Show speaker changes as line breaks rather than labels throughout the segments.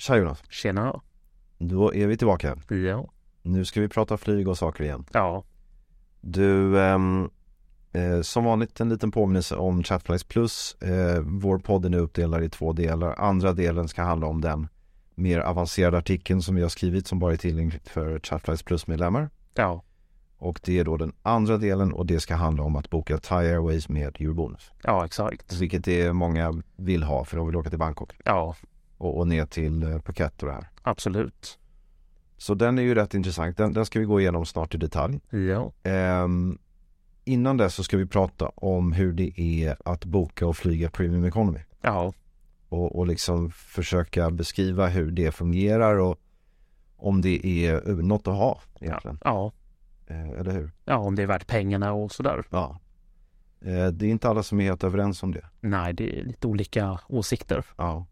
Tja Jonas,
Tjena.
då är vi tillbaka.
Ja.
Nu ska vi prata flyg och saker igen.
Ja.
Du, ehm, eh, som vanligt en liten påminnelse om Chatflies Plus. Eh, vår podd är nu uppdelad i två delar. Andra delen ska handla om den mer avancerade artikeln som vi har skrivit som bara är tillgänglig för Chatflies Plus-medlemmar.
Ja.
Och det är då den andra delen och det ska handla om att boka Thai Airways med Eurobonus.
Ja, exakt.
Vilket det är många vill ha för de vill åka till Bangkok
Ja,
och, och ner till eh, Phuket och det här.
absolut.
Så den är ju rätt intressant. Den, den ska vi gå igenom snart i detalj.
Ja.
Ehm, innan det så ska vi prata om hur det är att boka och flyga Premium Economy.
Ja.
Och, och liksom försöka beskriva hur det fungerar och om det är något att ha
Ja.
egentligen.
ja.
Eh, eller hur?
Ja, om det är värt pengarna och sådär.
Ja. Eh, det är inte alla som är helt överens om det.
Nej, det är lite olika åsikter.
Ja.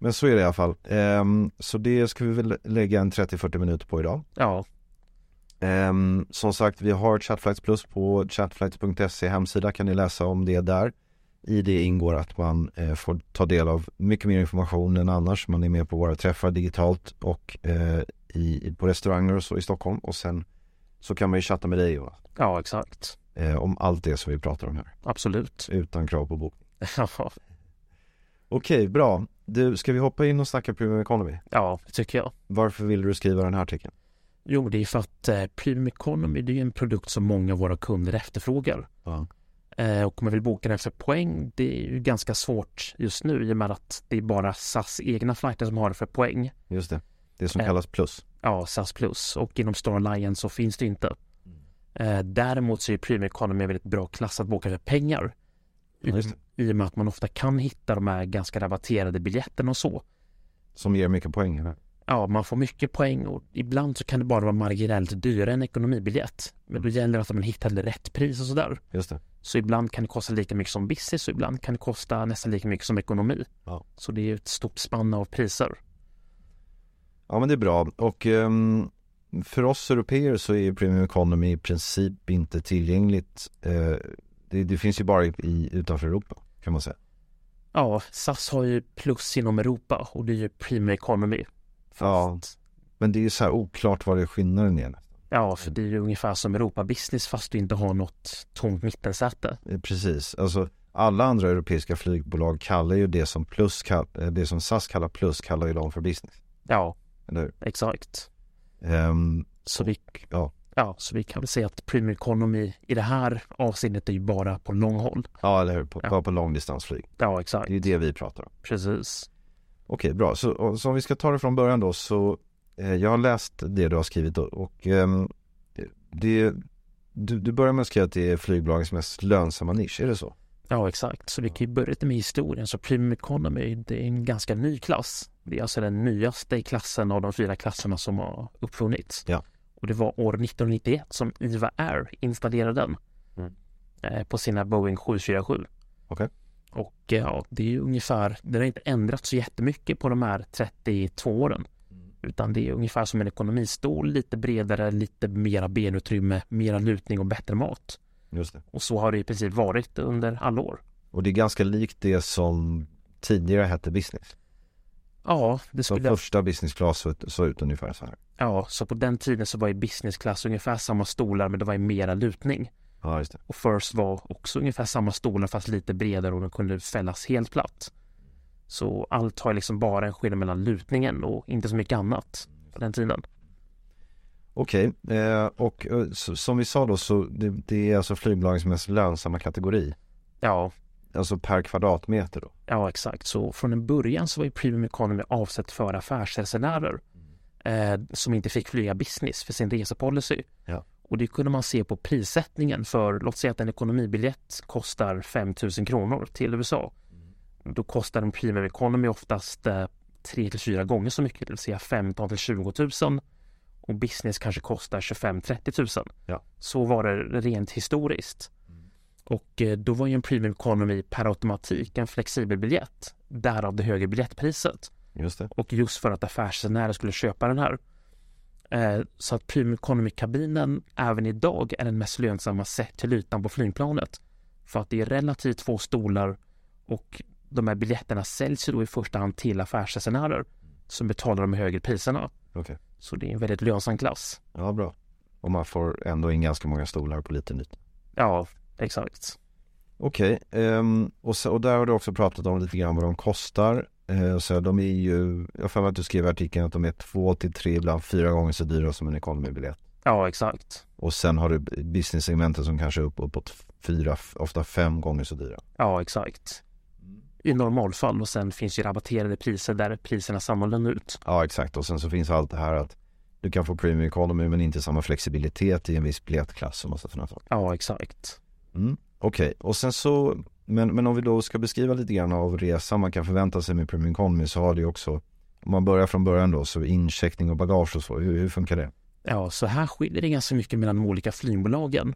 Men så är det i alla fall. Ehm, så det ska vi väl lägga en 30-40 minuter på idag.
Ja.
Ehm, som sagt, vi har Chatflights Plus på chatflights.se hemsida kan ni läsa om det där. I det ingår att man eh, får ta del av mycket mer information än annars. Man är med på våra träffar digitalt och eh, i, på restauranger och så i Stockholm. Och sen så kan man ju chatta med dig Jonas,
Ja, exakt.
eh, om allt det som vi pratar om här.
Absolut.
Utan krav på bok.
Ja.
Okej, bra. Du, ska vi hoppa in och snacka Premium Economy?
Ja, det tycker jag.
Varför ville du skriva den här artikeln?
Jo, det är för att eh, Premium Economy det är ju en produkt som många av våra kunder efterfrågar.
Ja.
Eh, och om man vill boka den för poäng, det är ju ganska svårt just nu i och med att det är bara SAS egna flighter som har det för poäng.
Just det, det som
Eh.
kallas plus.
Ja, SAS Plus och inom Star Alliance så finns det inte.
Mm.
Eh, däremot så är Premium Economy en väldigt bra klass att boka för pengar. I,
Ja, just det.
I och med att man ofta kan hitta de här ganska rabatterade biljetterna och så.
Som ger mycket poäng. eller?
Ja, man får mycket poäng och ibland så kan det bara vara marginellt dyrare än ekonomibiljett. Men
Mm.
då gäller det att man hittar rätt pris och sådär.
Just det.
Så ibland kan det kosta lika mycket som business och ibland kan det kosta nästan lika mycket som ekonomi.
Ja.
Så det är ju ett stort spann av priser.
Ja men det är bra och ehm, för oss europeer så är ju Premium Economy i princip inte tillgängligt. Eh, det, det finns ju bara i, i, utanför Europa kan man säga.
Ja, SAS har ju plus inom Europa och det är ju Premium Economy.
Ja. Men det är ju så här oklart vad det är skillnaden är.
Ja, för det är ju ungefär som Europa Business fast du inte har något tomt mittensäte.
Eh, Precis, alltså alla andra europeiska flygbolag kallar ju det som, plus, kall- eh, det som SAS kallar plus kallar ju de för business.
Ja,
Eller hur?
exakt.
Ehm,
Så vi,
ja.
ja, så vi kan väl säga att Premium Economy i det här avseendet är ju bara på långhåll.
ja, eller hur? På,
Ja.
Bara på långdistansflyg.
Ja,
Det
exakt.
är ju det vi pratar om.
Precis.
Okej, bra. Så, och, så om vi ska ta det från början då så eh, jag har läst det du har skrivit och, och ehm, det, du, du börjar med att skriva att det är flygbolagens mest lönsamma nisch, är det så?
Ja, exakt. Så vi kan ju börja lite med historien. Så Premium Economy, det är en ganska ny klass. Det är alltså den nyaste i klassen av de fyra klasserna som har uppfunnits.
Ja.
Och det var år 1991 som IVA Air installerade den eh, på sina Boeing 747.
Mm. Okej.
Och eh, ja, det är ju ungefär, den har inte ändrats så jättemycket på de här 32 åren.
Mm.
Utan det är ungefär som en ekonomistol, lite bredare, lite mera benutrymme, mera lutning och bättre mat.
Just det.
Och så har det i princip varit under alla år.
Och det är ganska likt det som tidigare hette business.
Ja, det
Så
skulle jag
första business class såg ut- såg ut ungefär så här.
Ja, så på den tiden så var ju businessklass ungefär samma stolar men det var ju mera lutning.
Ja, just det.
Och first var också ungefär samma stolar fast lite bredare och den kunde fällas helt platt. Så allt har ju liksom bara en skillnad mellan lutningen och inte så mycket annat på den tiden.
Okej, eh, och eh, så, som vi sa då så det, det är alltså flygbolagens mest lönsamma kategori.
Ja,
Alltså per kvadratmeter då.
ja exakt. Så från en början så var ju Premium Economy avsett för affärsresenärer eh, som inte fick flyga business för sin resepolicy.
Ja.
Och det kunde man se på prissättningen för, låt säga att en ekonomibiljett kostar 5 000 kronor till USA. Då kostar en premium economy oftast 3 till 4 gånger så mycket, det vill säga 15 till 20 000 och business kanske kostar 25-30 000.
Ja.
Så var det rent historiskt. Och eh, då var ju en premium economy per automatik en flexibel biljett, därav det högre biljettpriset
Just det.
och just för att affärsresenärer skulle köpa den här. Eh, Så att Premium Economy-kabinen även idag är den mest lönsamma sett till ytan på flygplanet. För att det är relativt få stolar och de här biljetterna säljs ju då i första hand till affärsresenärer som betalar de högre priserna.
Okej.
Så det är en väldigt lönsam klass.
Ja, bra. Och man får ändå in ganska många stolar på liten yta.
Ja, exakt.
Okej, ehm, och, så- och där har du också pratat om lite grann vad de kostar. Eh, så de är ju, jag har för mig att du skrev i artikeln att de är två till tre, ibland fyra gånger så dyra som en economy-biljett.
Ja, exakt.
Och sen har du business-segmentet som kanske är upp, uppåt fyra, f- ofta fem gånger så dyra.
Ja, exakt. I normalfall och sen finns ju rabatterade priser där priserna ser annorlunda ut.
Ja, exakt. Och sen så finns allt det här att du kan få premium economy men inte samma flexibilitet i en viss biljettklass och massa sådana saker.
Ja, exakt.
Mm. Okej, och sen så, men, men om vi då ska beskriva lite grann av resan man kan förvänta sig med Premium Economy så har det ju också, om man börjar från början då, så incheckning och bagage och så, hur, hur funkar det?
Ja, så här skiljer det ganska mycket mellan de olika flygbolagen.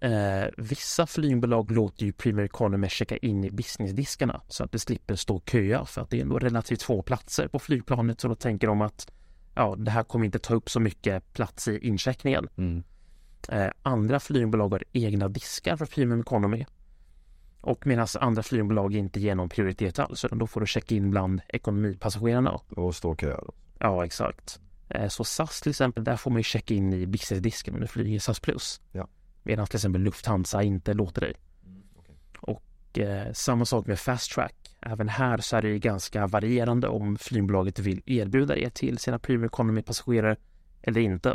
Eh, vissa flygbolag låter ju Premier Economy checka in i businessdiskarna så att det slipper stå och köa för att det är ändå relativt få platser på flygplanet så då tänker de att ja, det här kommer inte ta upp så mycket plats i incheckningen. Eh, andra flygbolag har egna diskar för Premium Economy och medan andra flygbolag inte ger någon prioritet alls utan då får du checka in bland ekonomipassagerarna.
Och stå och köa då?
Ja, exakt. Eh, Så SAS till exempel, där får man ju checka in i businessdisken om du flyger SAS Plus.
Ja.
Medan till exempel Lufthansa inte låter dig. Och eh, samma sak med Fast Track. Även här så är det ju ganska varierande om flygbolaget vill erbjuda det till sina Premium Economy-passagerare eller inte.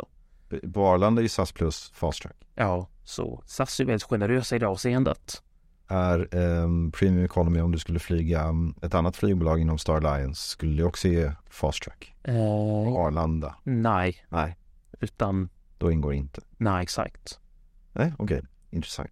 På Arlanda är ju SAS plus fast track.
Ja, så SAS är väldigt generösa i det avseendet.
Är ehm, Premium Economy om du skulle flyga mm, ett annat flygbolag inom Star Alliance skulle det också ge fast track?
Eh,
Arlanda?
nej,
Nej.
utan
Då ingår inte?
nej exakt.
Nej, okej, intressant.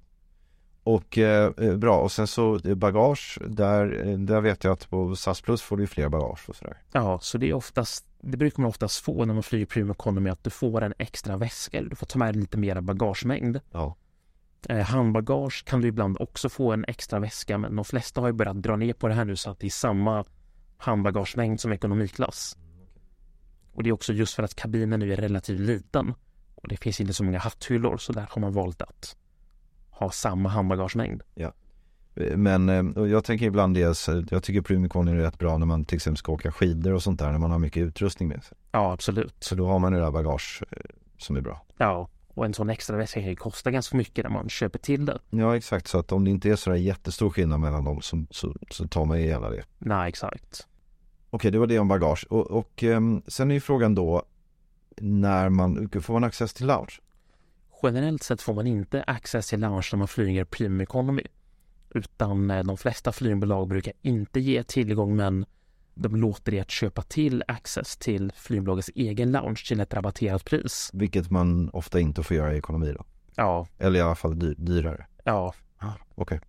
Och eh, eh, bra, och sen så eh, bagage, där, eh, där vet jag att på SAS plus får du ju fler bagage och sådär.
Ja, så det är oftast, det brukar man oftast få när man flyger Premium Economy att du får en extra väska eller du får ta med dig lite mera bagagemängd.
Ja.
Eh, handbagage kan du ibland också få en extra väska men de flesta har ju börjat dra ner på det här nu så att det är samma handbagagemängd som ekonomiklass. Och det är också just för att kabinen nu är relativt liten och det finns inte så många hatthyllor så där har man valt att ha samma handbagagemängd.
Men eh, och jag tänker ibland det, så jag tycker Prumicon är rätt bra när man till exempel ska åka skidor och sånt där när man har mycket utrustning med sig.
Ja, absolut.
Så då har man det där bagage eh, som är bra.
Ja, och en sån extra väska kan ju kosta ganska mycket när man köper till det.
Ja exakt, så att om det inte är sådär jättestor skillnad mellan dem så, så, så tar man ju hela det.
Nej, exakt.
Okej, det var det om bagage. Och, och ehm, sen är ju frågan då när man, får man access till lounge?
Generellt sett får man inte access till lounge när man flyger Premium Economy. Utan eh, de flesta flygbolag brukar inte ge tillgång men de låter er att köpa till access till flygbolagets egen lounge till ett rabatterat pris.
Vilket man ofta inte får göra i ekonomi då.
Ja,
Eller i alla fall dy- dyrare.
ja,
Okej.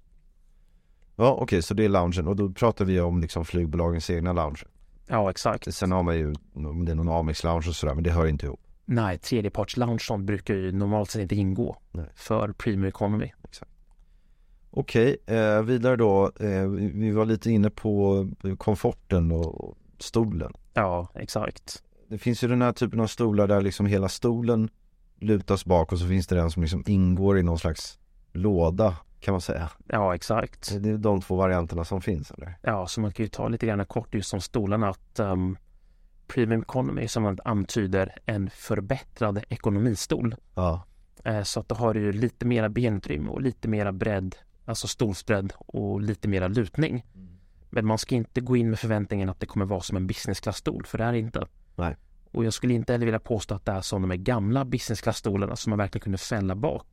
Ja okej, så det är loungen och då pratar vi om liksom flygbolagens egna lounge.
ja exakt.
Sen har man ju, om det är någon Amex-lounge och sådär, men det hör inte ihop.
Nej, tredjeparts lounge sånt brukar ju normalt sett inte ingå
Nej.
för Premium Economy.
Exakt. Okej, eh, vidare då. Eh, vi- vi var lite inne på eh, komforten och stolen.
Ja, exakt.
Det finns ju den här typen av stolar där liksom hela stolen lutas bak och så finns det den som liksom ingår i någon slags låda kan man säga.
Ja, exakt.
Det är de två varianterna som finns eller?
Ja, så man kan ju ta lite grann kort just om stolarna att ehm, Premium Economy som man antyder en förbättrad ekonomistol.
Ja.
Eh, så att då har du ju lite mera benutrymme och lite mera bredd, alltså stolsbredd och lite mera lutning.
Mm.
Men man ska inte gå in med förväntningen att det kommer vara som en business class-stol, för det är det inte.
Nej.
Och jag skulle inte heller vilja påstå att det är som de här gamla business class-stolarna som man verkligen kunde fälla bak.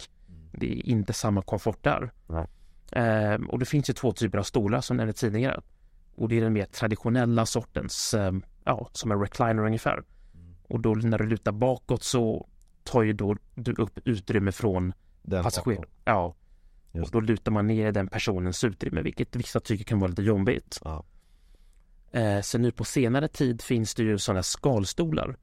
Det är inte samma komfort där.
Mm. Nej.
Ehm, och det finns ju två typer av stolar som jag nämnde tidigare. Och det är den mer traditionella sortens, ehm, ja, som en recliner ungefär.
Mm.
Och då när du lutar bakåt så tar ju då du upp utrymme från
Den
passagerare. Ja. Och
Just
då lutar man ner den personens utrymme, vilket vissa tycker kan vara lite jobbigt.
Ja.
Eh, sen nu på senare tid finns det ju sådana skalstolar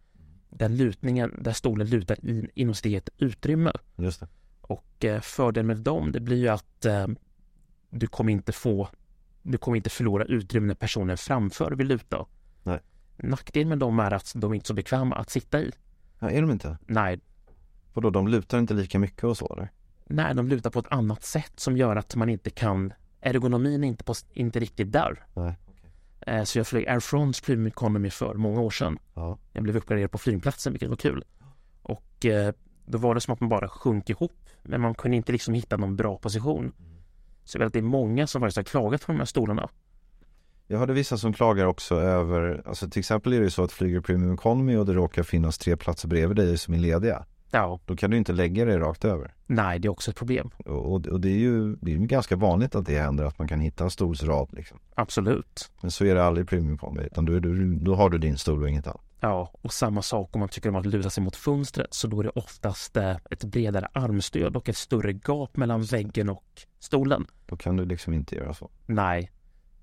där lutningen, där stolen lutar in, inom sitt eget utrymme.
Just det.
Och eh, fördelen med dem, det blir ju att eh, du kommer inte få, du kommer inte förlora utrymme när personen framför vill luta.
Nej.
Nackdelen med dem är att de är inte är så bekväma att sitta i.
Ja, är de inte?
Nej,
Vadå, de lutar inte lika mycket och så eller?
när de lutar på ett annat sätt som gör att man inte kan ergonomin är inte, på, inte riktigt där.
Nej.
Eh, Så jag flög Air France Premium Economy för många år sedan.
Ja.
Jag blev uppgraderad på flygplatsen vilket var kul. Och eh, då var det som att man bara sjönk ihop men man kunde inte liksom hitta någon bra position. Så jag vet att det är många som faktiskt har klagat på de här stolarna.
Jag hörde vissa som klagar också över, alltså till exempel är det ju så att flyger du Premium Economy och det råkar finnas tre platser bredvid dig som är lediga.
Ja,
Då kan du inte lägga dig rakt över.
nej det är också ett problem.
Och, och det är ju det är ju ganska vanligt att det händer att man kan hitta en stolsrad liksom.
Absolut.
Men så är det aldrig i Premium Economy utan då, är du, då har du din stol och inget annat.
Ja, och samma sak om man tycker om att luta sig mot fönstret så då är det oftast eh, ett bredare armstöd och ett större gap mellan väggen och stolen.
Då kan du liksom inte göra så.
Nej.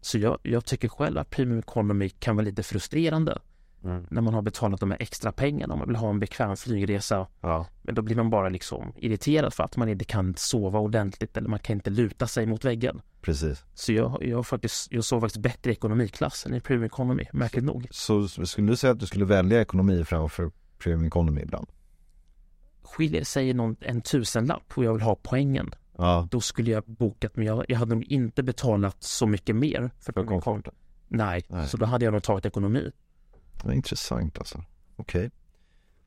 Så jag, jag tycker själv att Premium Economy kan vara lite frustrerande
Mm.
när man har betalat de här extra pengarna om man vill ha en bekväm flygresa.
Ja.
Men då blir man bara liksom irriterad för att man inte kan sova ordentligt eller man kan inte luta sig mot väggen.
Precis.
Så jag, jag, har faktiskt, jag sov faktiskt bättre i ekonomiklassen i Premium Economy, märkligt nog.
Så s- skulle du säga att du skulle välja ekonomi framför Premium Economy ibland?
Skiljer sig någon, en tusenlapp och jag vill ha poängen
Ja.
då skulle jag bokat men jag, jag hade nog inte betalat så mycket mer för,
För
min kont-
komforten.
Nej.
Nej.
så då hade jag nog tagit ekonomi.
Vad intressant alltså. Okej.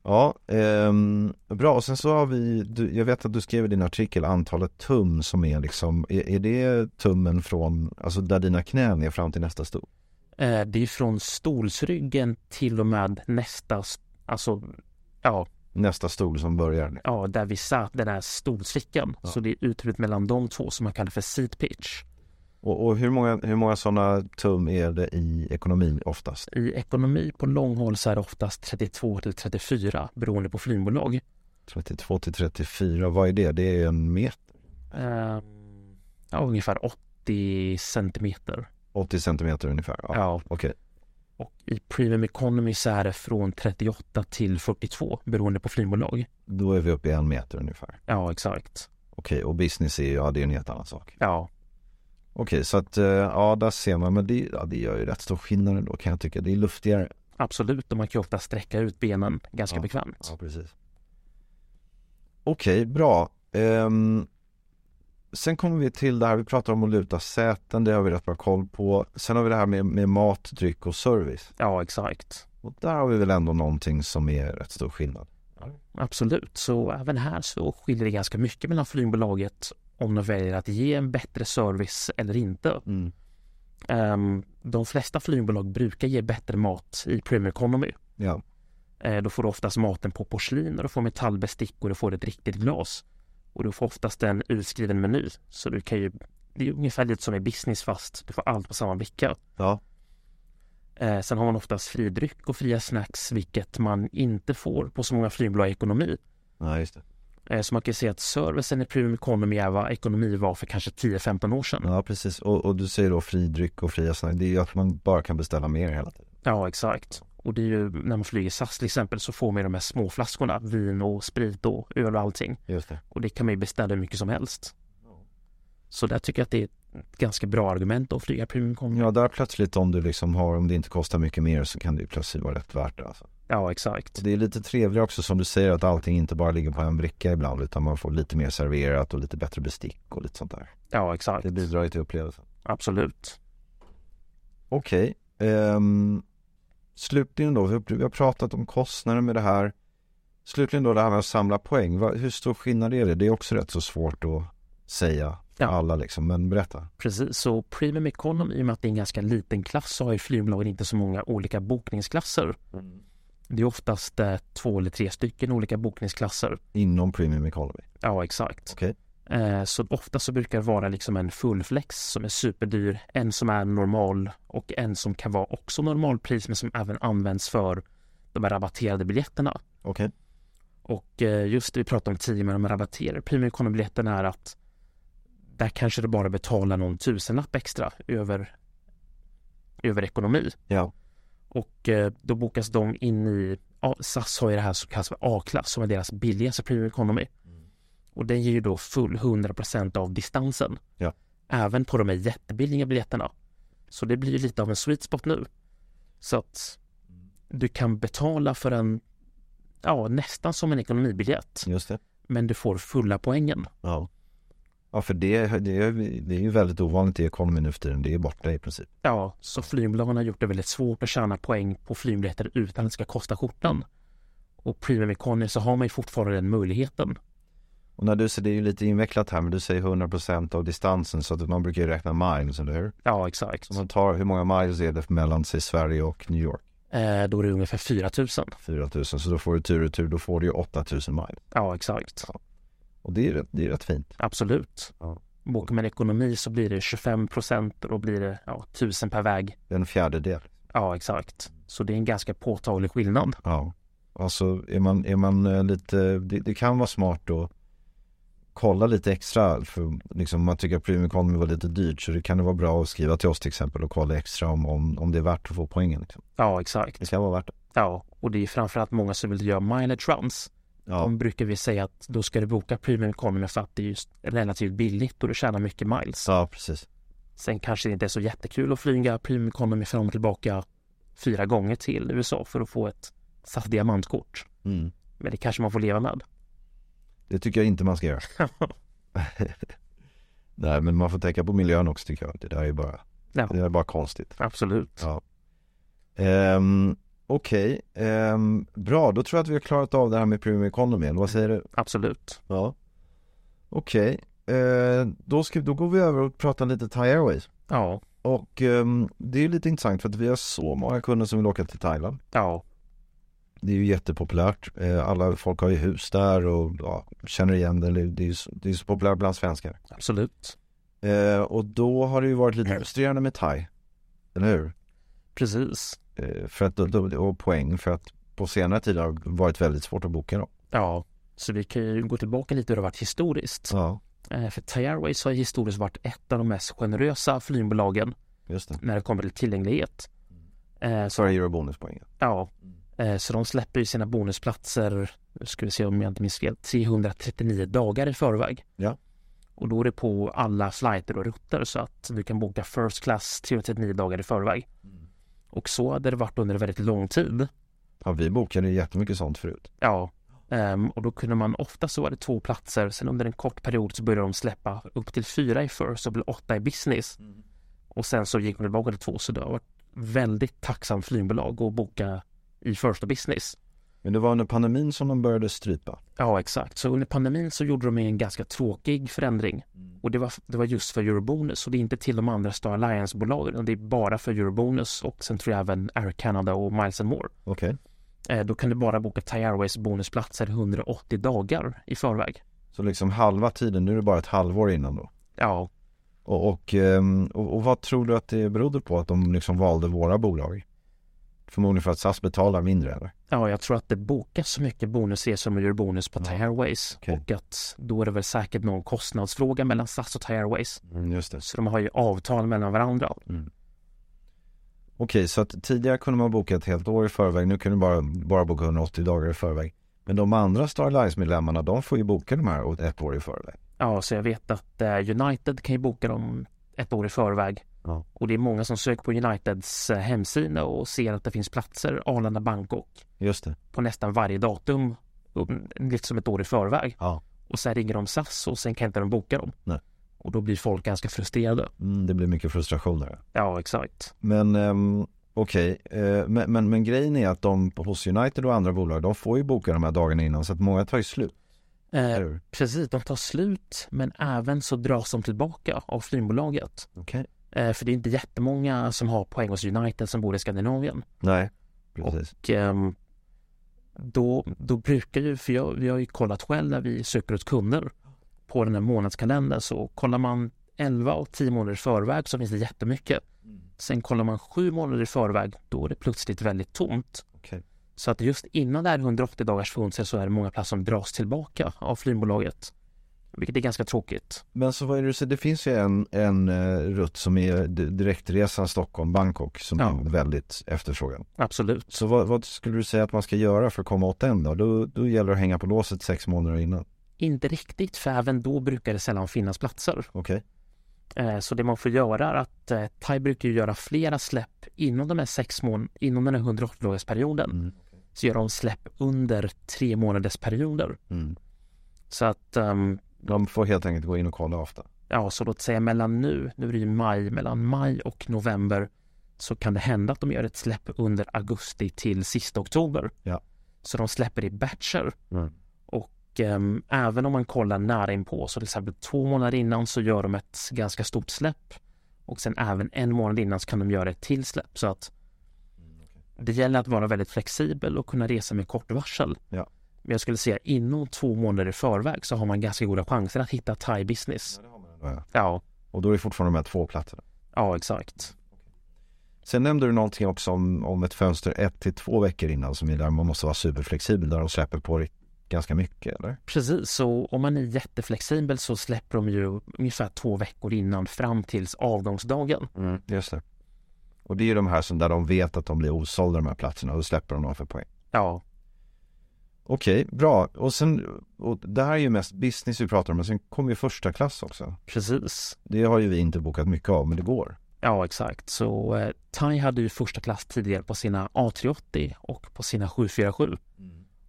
Ja, ehm, bra. Och sen så har vi, du, jag vet att du skrev i din artikel antalet tum som är liksom, är, är det tummen från, alltså där dina knän är fram till nästa stol?
Eh, det är från stolsryggen till och med nästa, s- alltså ja,
Nästa stol som börjar?
ja där vi satt, den här stolsfickan. Så det är utrymmet mellan de två som man kallar för seat pitch.
Och, och hur många, hur många sådana tum är det i ekonomin oftast?
I ekonomi på långhåll så är det oftast 32 till 34 beroende på flygbolag.
32 till 34, vad är det? Det är en meter,
Eh, ja, ungefär 80 centimeter.
80 centimeter ungefär? Ja.
Ja,
Okej,
Och i Premium Economy så är det från 38 till 42 beroende på flygbolag.
då är vi uppe i en meter ungefär.
Ja, exakt.
Okej, och business är ju, ja det är en helt annan sak.
Ja,
Okej, så att eh, ja, där ser man. Men det, ja, det gör ju rätt stor skillnad ändå kan jag tycka. Det är luftigare.
absolut. Och man kan ju ofta sträcka ut benen ganska
Ja.
bekvämt.
precis. Okej, bra. Ehm, sen kommer vi till det här, vi pratar om att luta säten, det har vi rätt bra koll på. Sen har vi det här med, med mat, dryck och service.
Ja, exakt.
Och där har vi väl ändå någonting som är rätt stor skillnad.
Absolut. Så även här så skiljer det ganska mycket mellan flygbolaget om de väljer att ge en bättre service eller inte.
Mm.
Ehm, de flesta flygbolag brukar ge bättre mat i Premium Economy.
Ja,
Eh, Då får du oftast maten på porslin och du får metallbestick och du får ett riktigt glas. Och du får oftast en utskriven meny. Så du kan ju, det är ungefär lite som i business fast du får allt på samma vecka.
ja,
Eh, sen har man oftast fri dryck och fria snacks vilket man inte får på så många flygbolag i ekonomi.
ja just det.
Eh, så man kan ju säga att servicen i Premium Economy är vad ekonomi var för kanske 10-15 år sedan.
Ja, precis. Och, och du säger då fri dryck och fria snack. Det är ju att man bara kan beställa mer hela tiden.
Ja, exakt. Och det är ju när man flyger SAS till exempel så får man ju de här små flaskorna, vin och sprit och öl och allting.
Just det.
Och det kan man ju beställa hur mycket som helst. Så där tycker jag att det är ett ganska bra argument att flyga premium economy.
Ja, där plötsligt om du liksom har, om det inte kostar mycket mer så kan det ju plötsligt vara rätt värt det alltså.
Ja, exakt.
Och det är lite trevligare också som du säger att allting inte bara ligger på en bricka ibland utan man får lite mer serverat och lite bättre bestick och lite sånt där.
Ja, exakt.
Det bidrar ju till upplevelsen.
Absolut.
Okej. ehm, slutligen då, vi har- vi har pratat om kostnader med det här. Slutligen då det här med att samla poäng. Va- Hur stor skillnad är det? Det är också rätt så svårt att säga för
Ja.
alla liksom, men berätta.
Precis, så Premium Economy, i och med att det är en ganska liten klass, så har ju flygbolagen inte så många olika bokningsklasser.
Mm.
Det är oftast eh, två eller tre stycken olika bokningsklasser.
Inom Premium Economy.
Ja, exakt.
Okej.
Eh, så ofta så brukar det vara liksom en fullflex som är superdyr, en som är normal och en som kan vara också normalpris men som även används för de här rabatterade biljetterna.
Okej.
Och eh, just det vi pratade om tidigare med de rabatterade premium economy-biljetten är att där kanske du bara betalar någon tusenlapp extra över, över ekonomi.
Ja.
Och eh, då bokas de in i, ja, SAS har ju det här som kallas för A-klass som är deras billigaste premium economy. Och den ger ju då full 100% av distansen.
Ja.
Även på de här jättebilliga biljetterna. Så det blir ju lite av en sweet spot nu. Så att du kan betala för en, ja nästan som en ekonomibiljett.
Just det.
Men du får fulla poängen.
Ja. Ja, för det, det, är, det är ju väldigt ovanligt i Economy nu för tiden. Det är borta i princip.
Ja, så flygbolagen har gjort det väldigt svårt att tjäna poäng på flygbiljetter utan att det ska kosta skjortan. Och Premium Economy så har man ju fortfarande den möjligheten.
Och när du säger, det är ju lite invecklat här, men du säger 100% av distansen så att man brukar ju räkna miles, eller hur?
Ja, exakt.
Så man tar, hur många miles är det mellan sig Sverige och New York?
Eh, då är det ungefär 4000.
4000, så då får du tur och tur, då får du ju 8000 miles.
Ja, exakt.
Ja. Och det är ju rätt, det är rätt fint.
Absolut.
Ja.
Bokar man ekonomi så blir det 25 procent och då blir det ja, 1000 per väg.
En fjärdedel.
Ja, exakt. Så det är en ganska påtaglig skillnad.
Ja. Alltså är man, är man eh, lite, det, det kan vara smart att kolla lite extra för liksom om man tycker att premium economy var lite dyrt så det kan det vara bra att skriva till oss till exempel och kolla extra om, om, om det är värt att få poängen. Liksom.
Ja, exakt.
Det kan vara värt det.
Ja, och det är framförallt många som vill göra mileage runs.
Ja.
De brukar vi säga att då ska du boka premium economy för att det är just relativt billigt och du tjänar mycket miles.
ja, precis.
Sen kanske det inte är så jättekul att flyga premium economy fram och tillbaka fyra gånger till USA för att få ett SAS diamantkort.
Mm.
Men det kanske man får leva med.
Det tycker jag inte man ska göra. Nej, men man får tänka på miljön också tycker jag. Det där är ju bara,
Ja.
det där är bara konstigt.
Absolut.
Ja. Ehm, Okej, Ehm, bra. Då tror jag att vi har klarat av det här med Premium Economy. eller Vad säger du?
Absolut.
Ja. Okej, Eh, då, ska- då går vi över och pratar lite Thai Airways.
Ja,
Och ehm, det är lite intressant för att vi har så många kunder som vill åka till Thailand.
ja,
Det är ju jättepopulärt. Eh, alla folk har ju hus där och ja, känner igen det. Det är, det är, ju så- det är så populärt bland svenskar.
absolut.
Eh, och då har det ju varit lite frustrerande med Thai. Eller hur?
Precis.
Eh, för att, och poäng för att på senare tid har det varit väldigt svårt att boka dem.
Ja, så vi kan ju gå tillbaka lite hur det har varit historiskt.
Ja,
Eh, För Thai Airways har ju historiskt varit ett av de mest generösa flygbolagen
just det.
när det kommer till tillgänglighet. Eh, Så,
Sverige gör bonuspoängen.
ja, eh, så de släpper ju sina bonusplatser, nu ska vi se om jag inte minns fel, 339 dagar i förväg.
Ja.
Och då är det på alla flighter och rutter så att du kan boka first class 339 dagar i förväg. Och så hade det varit under väldigt lång tid.
Ja, vi bokade ju jättemycket sånt förut.
Ja, ehm, och då kunde man ofta så var det två platser. Sen under en kort period så började de släppa upp till fyra i first och blev åtta i business. Och sen så gick de tillbaka till två så det har varit väldigt tacksam flygbolag att boka i first och business.
Men det var under pandemin som de började strypa.
Ja, exakt. Så under pandemin så gjorde de en ganska tråkig förändring och det var, det var just för Eurobonus så det är inte till de andra Star Alliance-bolagen utan det är bara för Eurobonus och sen tror jag även Air Canada och Miles and More.
Okej.
Eh, då kan du bara boka Thai Airways bonusplatser 180 dagar i förväg.
Så liksom halva tiden, nu är det bara ett halvår innan då.
Ja,
Och, och, ehm, och, och vad tror du att det berodde på att de liksom valde våra bolag? Förmodligen för att SAS betalar mindre eller?
ja, jag tror att det bokas så mycket bonusresor med Eurobonus på Thai Airways
okej.
och att då är det väl säkert någon kostnadsfråga mellan SAS och Thai Airways.
Mm, just det. Okej,
Så de har ju avtal mellan varandra.
så att tidigare kunde man boka ett helt år i förväg, nu kan du bara, bara boka 180 dagar i förväg. Men de andra Star Alliance-medlemmarna, de får ju boka de här åt ett år i förväg.
Ja, så jag vet att eh, United kan ju boka dem ett år i förväg.
Ja.
Och det är många som söker på Uniteds eh, hemsida och ser att det finns platser Arlanda Bangkok
Just det.
på nästan varje datum. och, mm, Lite som ett år i förväg.
Ja.
Och sen ringer de SAS och sen kan inte de boka dem.
Nej.
Och då blir folk ganska frustrerade.
Mm, det blir mycket frustrationer.
Ja, exakt.
Men ehm, okej, Eh, men, men, men grejen är att de hos United och andra bolag, de får ju boka de här dagarna innan så att många tar ju slut.
Eh,
Eller hur?
precis, de tar slut men även så dras de tillbaka av flygbolaget.
Okej.
Eh, för det är inte jättemånga som har poäng hos United som bor i Skandinavien.
Nej, precis.
Och ehm, då, då brukar ju, för jag, vi har ju kollat själv när vi söker ut kunder på den här månadskalendern så kollar man 11 och 10 månader i förväg så finns det jättemycket. Sen kollar man 7 månader i förväg då är det plötsligt väldigt tomt.
Okej.
Så att just innan det här 180 dagars fönstret så är det många platser som dras tillbaka av flygbolaget. Vilket är ganska tråkigt.
Men så vad är det du säger, det finns ju en, en eh, rutt som är d- direktresan Stockholm-Bangkok som
Ja.
är väldigt efterfrågan.
Absolut.
Så vad, vad skulle du säga att man ska göra för att komma åt den då? Då, då gäller det att hänga på låset sex månader innan.
Inte riktigt för även då brukar det sällan finnas platser.
Okej.
Eh, Så det man får göra är att eh, Thai brukar ju göra flera släpp inom de här sex mån- inom den här 180-dagarsperioden.
Mm.
Så gör de släpp under tre månaders perioder.
Mm.
Så att, ehm,
De får helt enkelt gå in och kolla ofta.
ja så låt säga mellan nu, nu är det ju maj, mellan maj och november så kan det hända att de gör ett släpp under augusti till sista oktober.
Ja.
Så de släpper i batcher.
Mm.
Och ehm, även om man kollar nära inpå, så till exempel två månader innan så gör de ett ganska stort släpp. Och sen även en månad innan så kan de göra ett till släpp. Så att
Mm,
det gäller att vara väldigt flexibel och kunna resa med kort varsel.
Ja.
Men jag skulle säga inom två månader i förväg så har man ganska goda chanser att hitta thai business.
Ja.
Ja,
Och då är det fortfarande de här två platserna.
ja exakt.
Sen nämnde du någonting också om, om ett fönster ett till två veckor innan som är där man måste vara superflexibel där de släpper på det ganska mycket eller?
Precis, så om man är jätteflexibel så släpper de ju ungefär två veckor innan fram tills avgångsdagen.
Mm. Just det. Och det är ju de här som där de vet att de blir osålda de här platserna och då släpper de dem för poäng.
Ja,
Okej, bra. Och sen, och det här är ju mest business vi pratar om men sen kommer ju första klass också.
precis.
Det har ju vi inte bokat mycket av men det går.
Ja, exakt. Så eh, Thai hade ju första klass tidigare på sina A380 och på sina 747.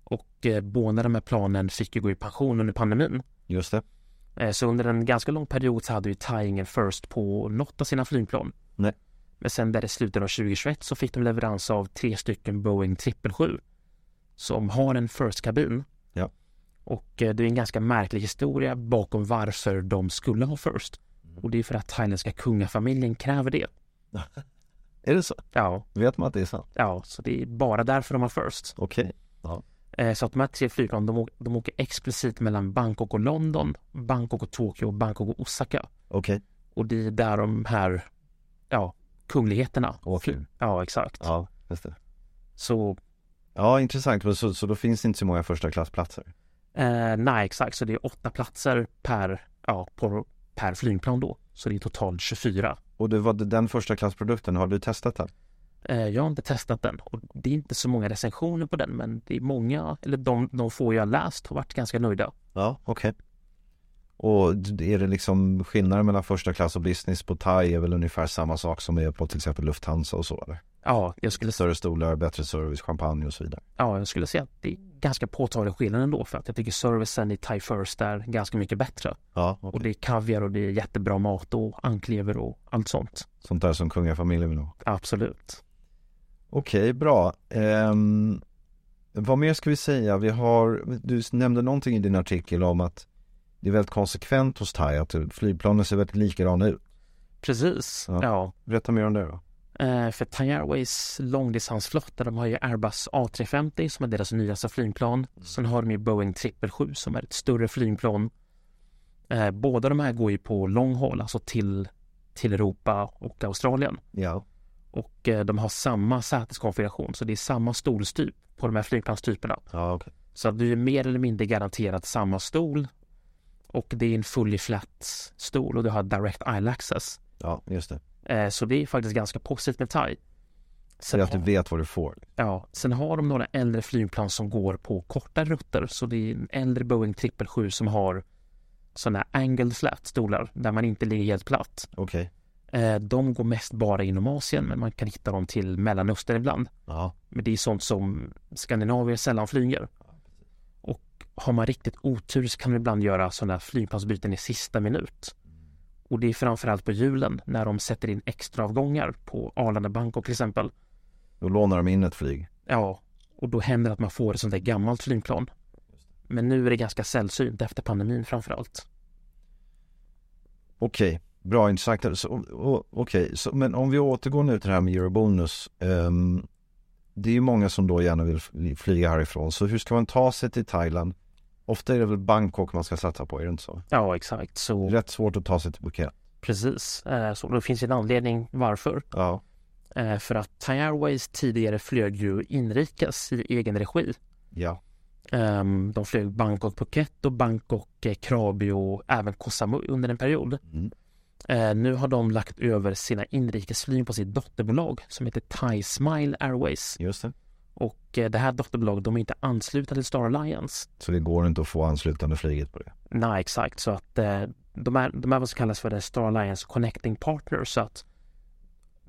Och eh, båda de här planen fick ju gå i pension under pandemin.
Just det.
Eh, så under en ganska lång period så hade ju Thai ingen first på något av sina flygplan.
Nej.
Men sen där i slutet av 2021 så fick de leverans av tre stycken Boeing 777 som har en first-kabin.
Ja.
Och eh, det är en ganska märklig historia bakom varför de skulle ha first.
Mm.
Och det är för att thailändska kungafamiljen kräver det.
Är det så?
Ja,
Vet man att det är sant?
ja, så det är bara därför de har First.
Okej.
Eh, Så att de här tre flygplanen, de, åker- de åker explicit mellan Bangkok och London, Bangkok och Tokyo, Bangkok och Osaka.
Okej.
Och det är där de här, ja, kungligheterna.
Åker.
Ja, exakt.
Ja, just det.
Så,
Ja, intressant. Men Så, så då finns det inte så många första klassplatser?
eh, nej exakt, så det är åtta platser per, ja, på, per flygplan då. Så det är totalt 24.
Och det var den första klassprodukten, har du testat den?
Eh, Jag har inte testat den och det är inte så många recensioner på den men det är många, eller de, de få jag har läst har varit ganska nöjda.
Ja, okej. Och d- är det liksom skillnaden mellan första klass och business på Thai är väl ungefär samma sak som är på till exempel Lufthansa och så eller?
Ja, jag skulle
Större stolar, bättre service, champagne och så vidare.
Ja, jag skulle säga att det är ganska påtaglig skillnad ändå för att jag tycker servicen i Thai First är ganska mycket bättre.
Ja,
Och det är kaviar och det är jättebra mat och anklever och allt sånt.
Sånt där som kungafamiljen vill ha.
Absolut.
Okej, bra. Ehm, vad mer ska vi säga? Vi har, du nämnde någonting i din artikel om att det är väldigt konsekvent hos Thai att flygplanen ser väldigt likadana ut.
Precis.
Ja.
Ja.
Berätta mer om det då.
Eh, för Thai Airways långdistansflotta, de har ju Airbus A350 som är deras nyaste flygplan. Sen har de ju Boeing 777 som är ett större flygplan. Eh, båda de här går ju på long haul, alltså till, till Europa och Australien.
Ja.
och eh, de har samma säteskonfiguration så det är samma stolstyp på de här flygplanstyperna.
Ja, okej.
Så att du är mer eller mindre garanterat samma stol och det är en fully flat stol och du har direct aisle access.
Ja, just det.
Eh, Så det är faktiskt ganska positivt med Thai.
Så
Sen,
att du
har,
vet vad du får.
ja, sen har de några äldre flygplan som går på korta rutter så det är en äldre Boeing 777 som har sådana här angled flat stolar där man inte ligger helt platt.
Okej.
Eh, de går mest bara inom Asien men man kan hitta dem till Mellanöstern ibland.
Ja.
Men det är sånt som skandinavier sällan flyger. Och har man riktigt otur så kan man ibland göra sådana här flygplansbyten i sista minut. Och det är framförallt på julen när de sätter in extra avgångar på Arlanda Bangkok till exempel.
Då lånar de in ett flyg.
Ja, och då händer det att man får ett sånt där gammalt flygplan. Men nu är det ganska sällsynt efter pandemin framförallt.
Okej, bra intressant. Så, o- Okej, så men om vi återgår nu till det här med Eurobonus. ehm, det är ju många som då gärna vill fly- flyga härifrån. Så hur ska man ta sig till Thailand? Ofta är det väl Bangkok man ska satsa på, är det inte så?
Ja, exakt.
Det är
Så
rätt svårt att ta sig till Phuket.
precis. Eh, Så det finns en anledning varför.
Ja,
Eh, För att Thai Airways tidigare flög ju inrikes i egen regi.
ja,
Ehm, De flög Bangkok Phuket och Bangkok eh, Krabi och även Koh Samui under en period.
Mm.
Eh, Nu har de lagt över sina inrikesflyg på sitt dotterbolag som heter Thai Smile Airways.
just det.
Och eh, det här dotterbolaget, de är inte anslutna till Star Alliance.
Så det går inte att få anslutande flyget på det.
Nej, exakt. Så att eh, de, är, de är vad som kallas för en Star Alliance Connecting Partner. Så att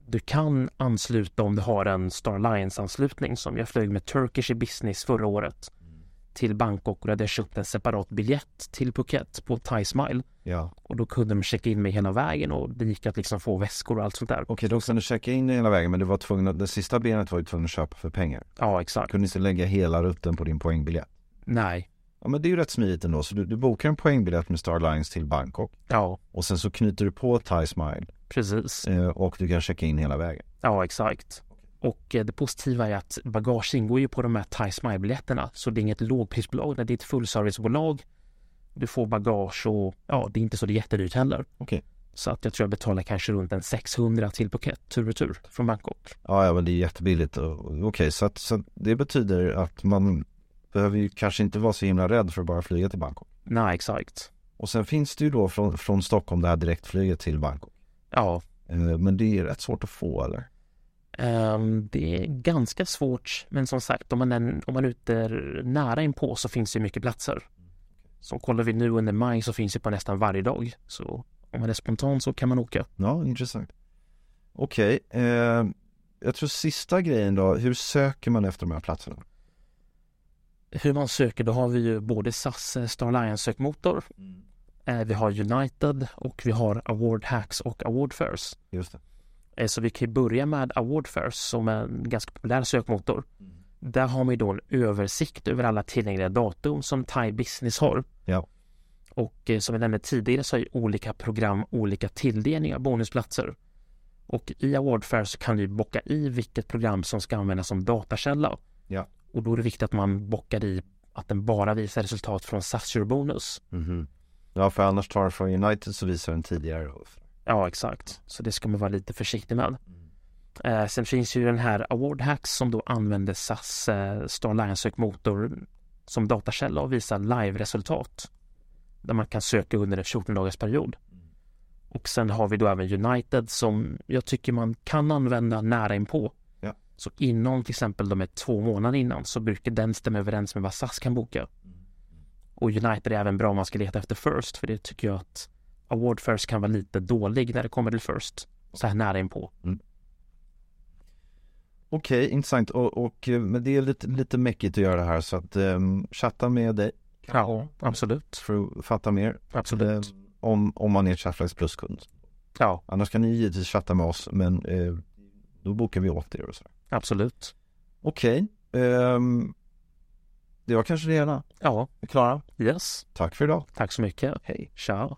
du kan ansluta om du har en Star Alliance-anslutning som jag flög med Turkish i business förra året till Bangkok och då hade jag köpt en separat biljett till Phuket på Thai Smile.
Ja,
Och då kunde de checka in mig hela vägen och det gick att liksom få väskor och allt sånt där.
okej, då kunde du checka in hela vägen men du var tvungen att, det sista benet var du tvungen att köpa för pengar.
Ja,
Du
exakt.
kunde inte lägga hela rutten på din poängbiljett.
Nej.
Ja, men det är ju rätt smidigt ändå. Så du, du bokar en poängbiljett med Star Alliance till Bangkok.
Ja,
Och sen så knyter du på Thai Smile
precis.
eh, och du kan checka in hela vägen.
Ja, exakt. Och eh, det positiva är att bagage ingår ju på de här Thai Smile-biljetterna, så det är inget lågprisbolag, utan det är ett fullservicebolag. Du får bagage och ja, det är inte så det är jättedyrt heller.
Okej.
Så att jag tror jag betalar kanske runt en 600 till Phuket tur och tur från Bangkok.
Ja, ja men det är jättebilligt. Och- och- Okej, så, att, så att det betyder att man behöver ju kanske inte vara så himla rädd för att bara flyga till Bangkok.
Nej, exakt.
Och sen finns det ju då från, från Stockholm det här direktflyget till Bangkok.
Ja,
Eh, Men det är rätt svårt att få eller?
ehm, det är ganska svårt, men som sagt, om man är, om man är ute nära inpå så finns det ju mycket platser. Så kollar vi nu under maj så finns det på nästan varje dag. Så om man är spontan så kan man åka.
Ja, intressant. Okej, eh, jag tror sista grejen då, hur söker man efter de här platserna?
hur man söker, då har vi ju både SAS eh, Star Alliance sökmotor. Eh, Vi har United och vi har Award Hacks och Award Fairs.
Just det.
Eh, Så vi kan ju börja med Award Fairs som är en ganska populär sökmotor. Där har man ju då en översikt över alla tillgängliga datum som Thai Business har.
Ja.
Och eh, som jag nämnde tidigare så har ju olika program olika tilldelningar av bonusplatser. Och i Award Fair så kan du ju bocka i vilket program som ska användas som datakälla.
Ja.
Och då är det viktigt att man bockar i att den bara visar resultat från SAS Eurobonus.
Ja, för annars tar det från United så visar den tidigare.
Ja, exakt. Så det ska man vara lite försiktig med. Eh, sen finns ju den här Award Hacks som då använder SAS eh, Star Alliance sökmotor som datakälla och visar live-resultat. Där man kan söka under en 14 dagars period. Och sen har vi då även United som jag tycker man kan använda nära inpå.
Ja.
Så inom till exempel de är två månader innan så brukar den stämma överens med vad SAS kan boka. Och United är även bra om man ska leta efter First för det tycker jag att Award First kan vara lite dålig när det kommer till First. Så här nära inpå.
Okej, intressant. Och, och, eh, men det är lite, lite mäckigt att göra det här så att ehm, chatta med dig
Ja, absolut.
för att fatta mer eh,
Absolut.
om, om man är Chatflex Plus-kund.
Ja,
Annars kan ni givetvis chatta med oss men eh, då bokar vi åt er och så.
absolut.
Okej, ehm, det var kanske det hela.
Ja,
Klara,
yes.
tack för idag.
Tack så mycket.
Hej.
Tja.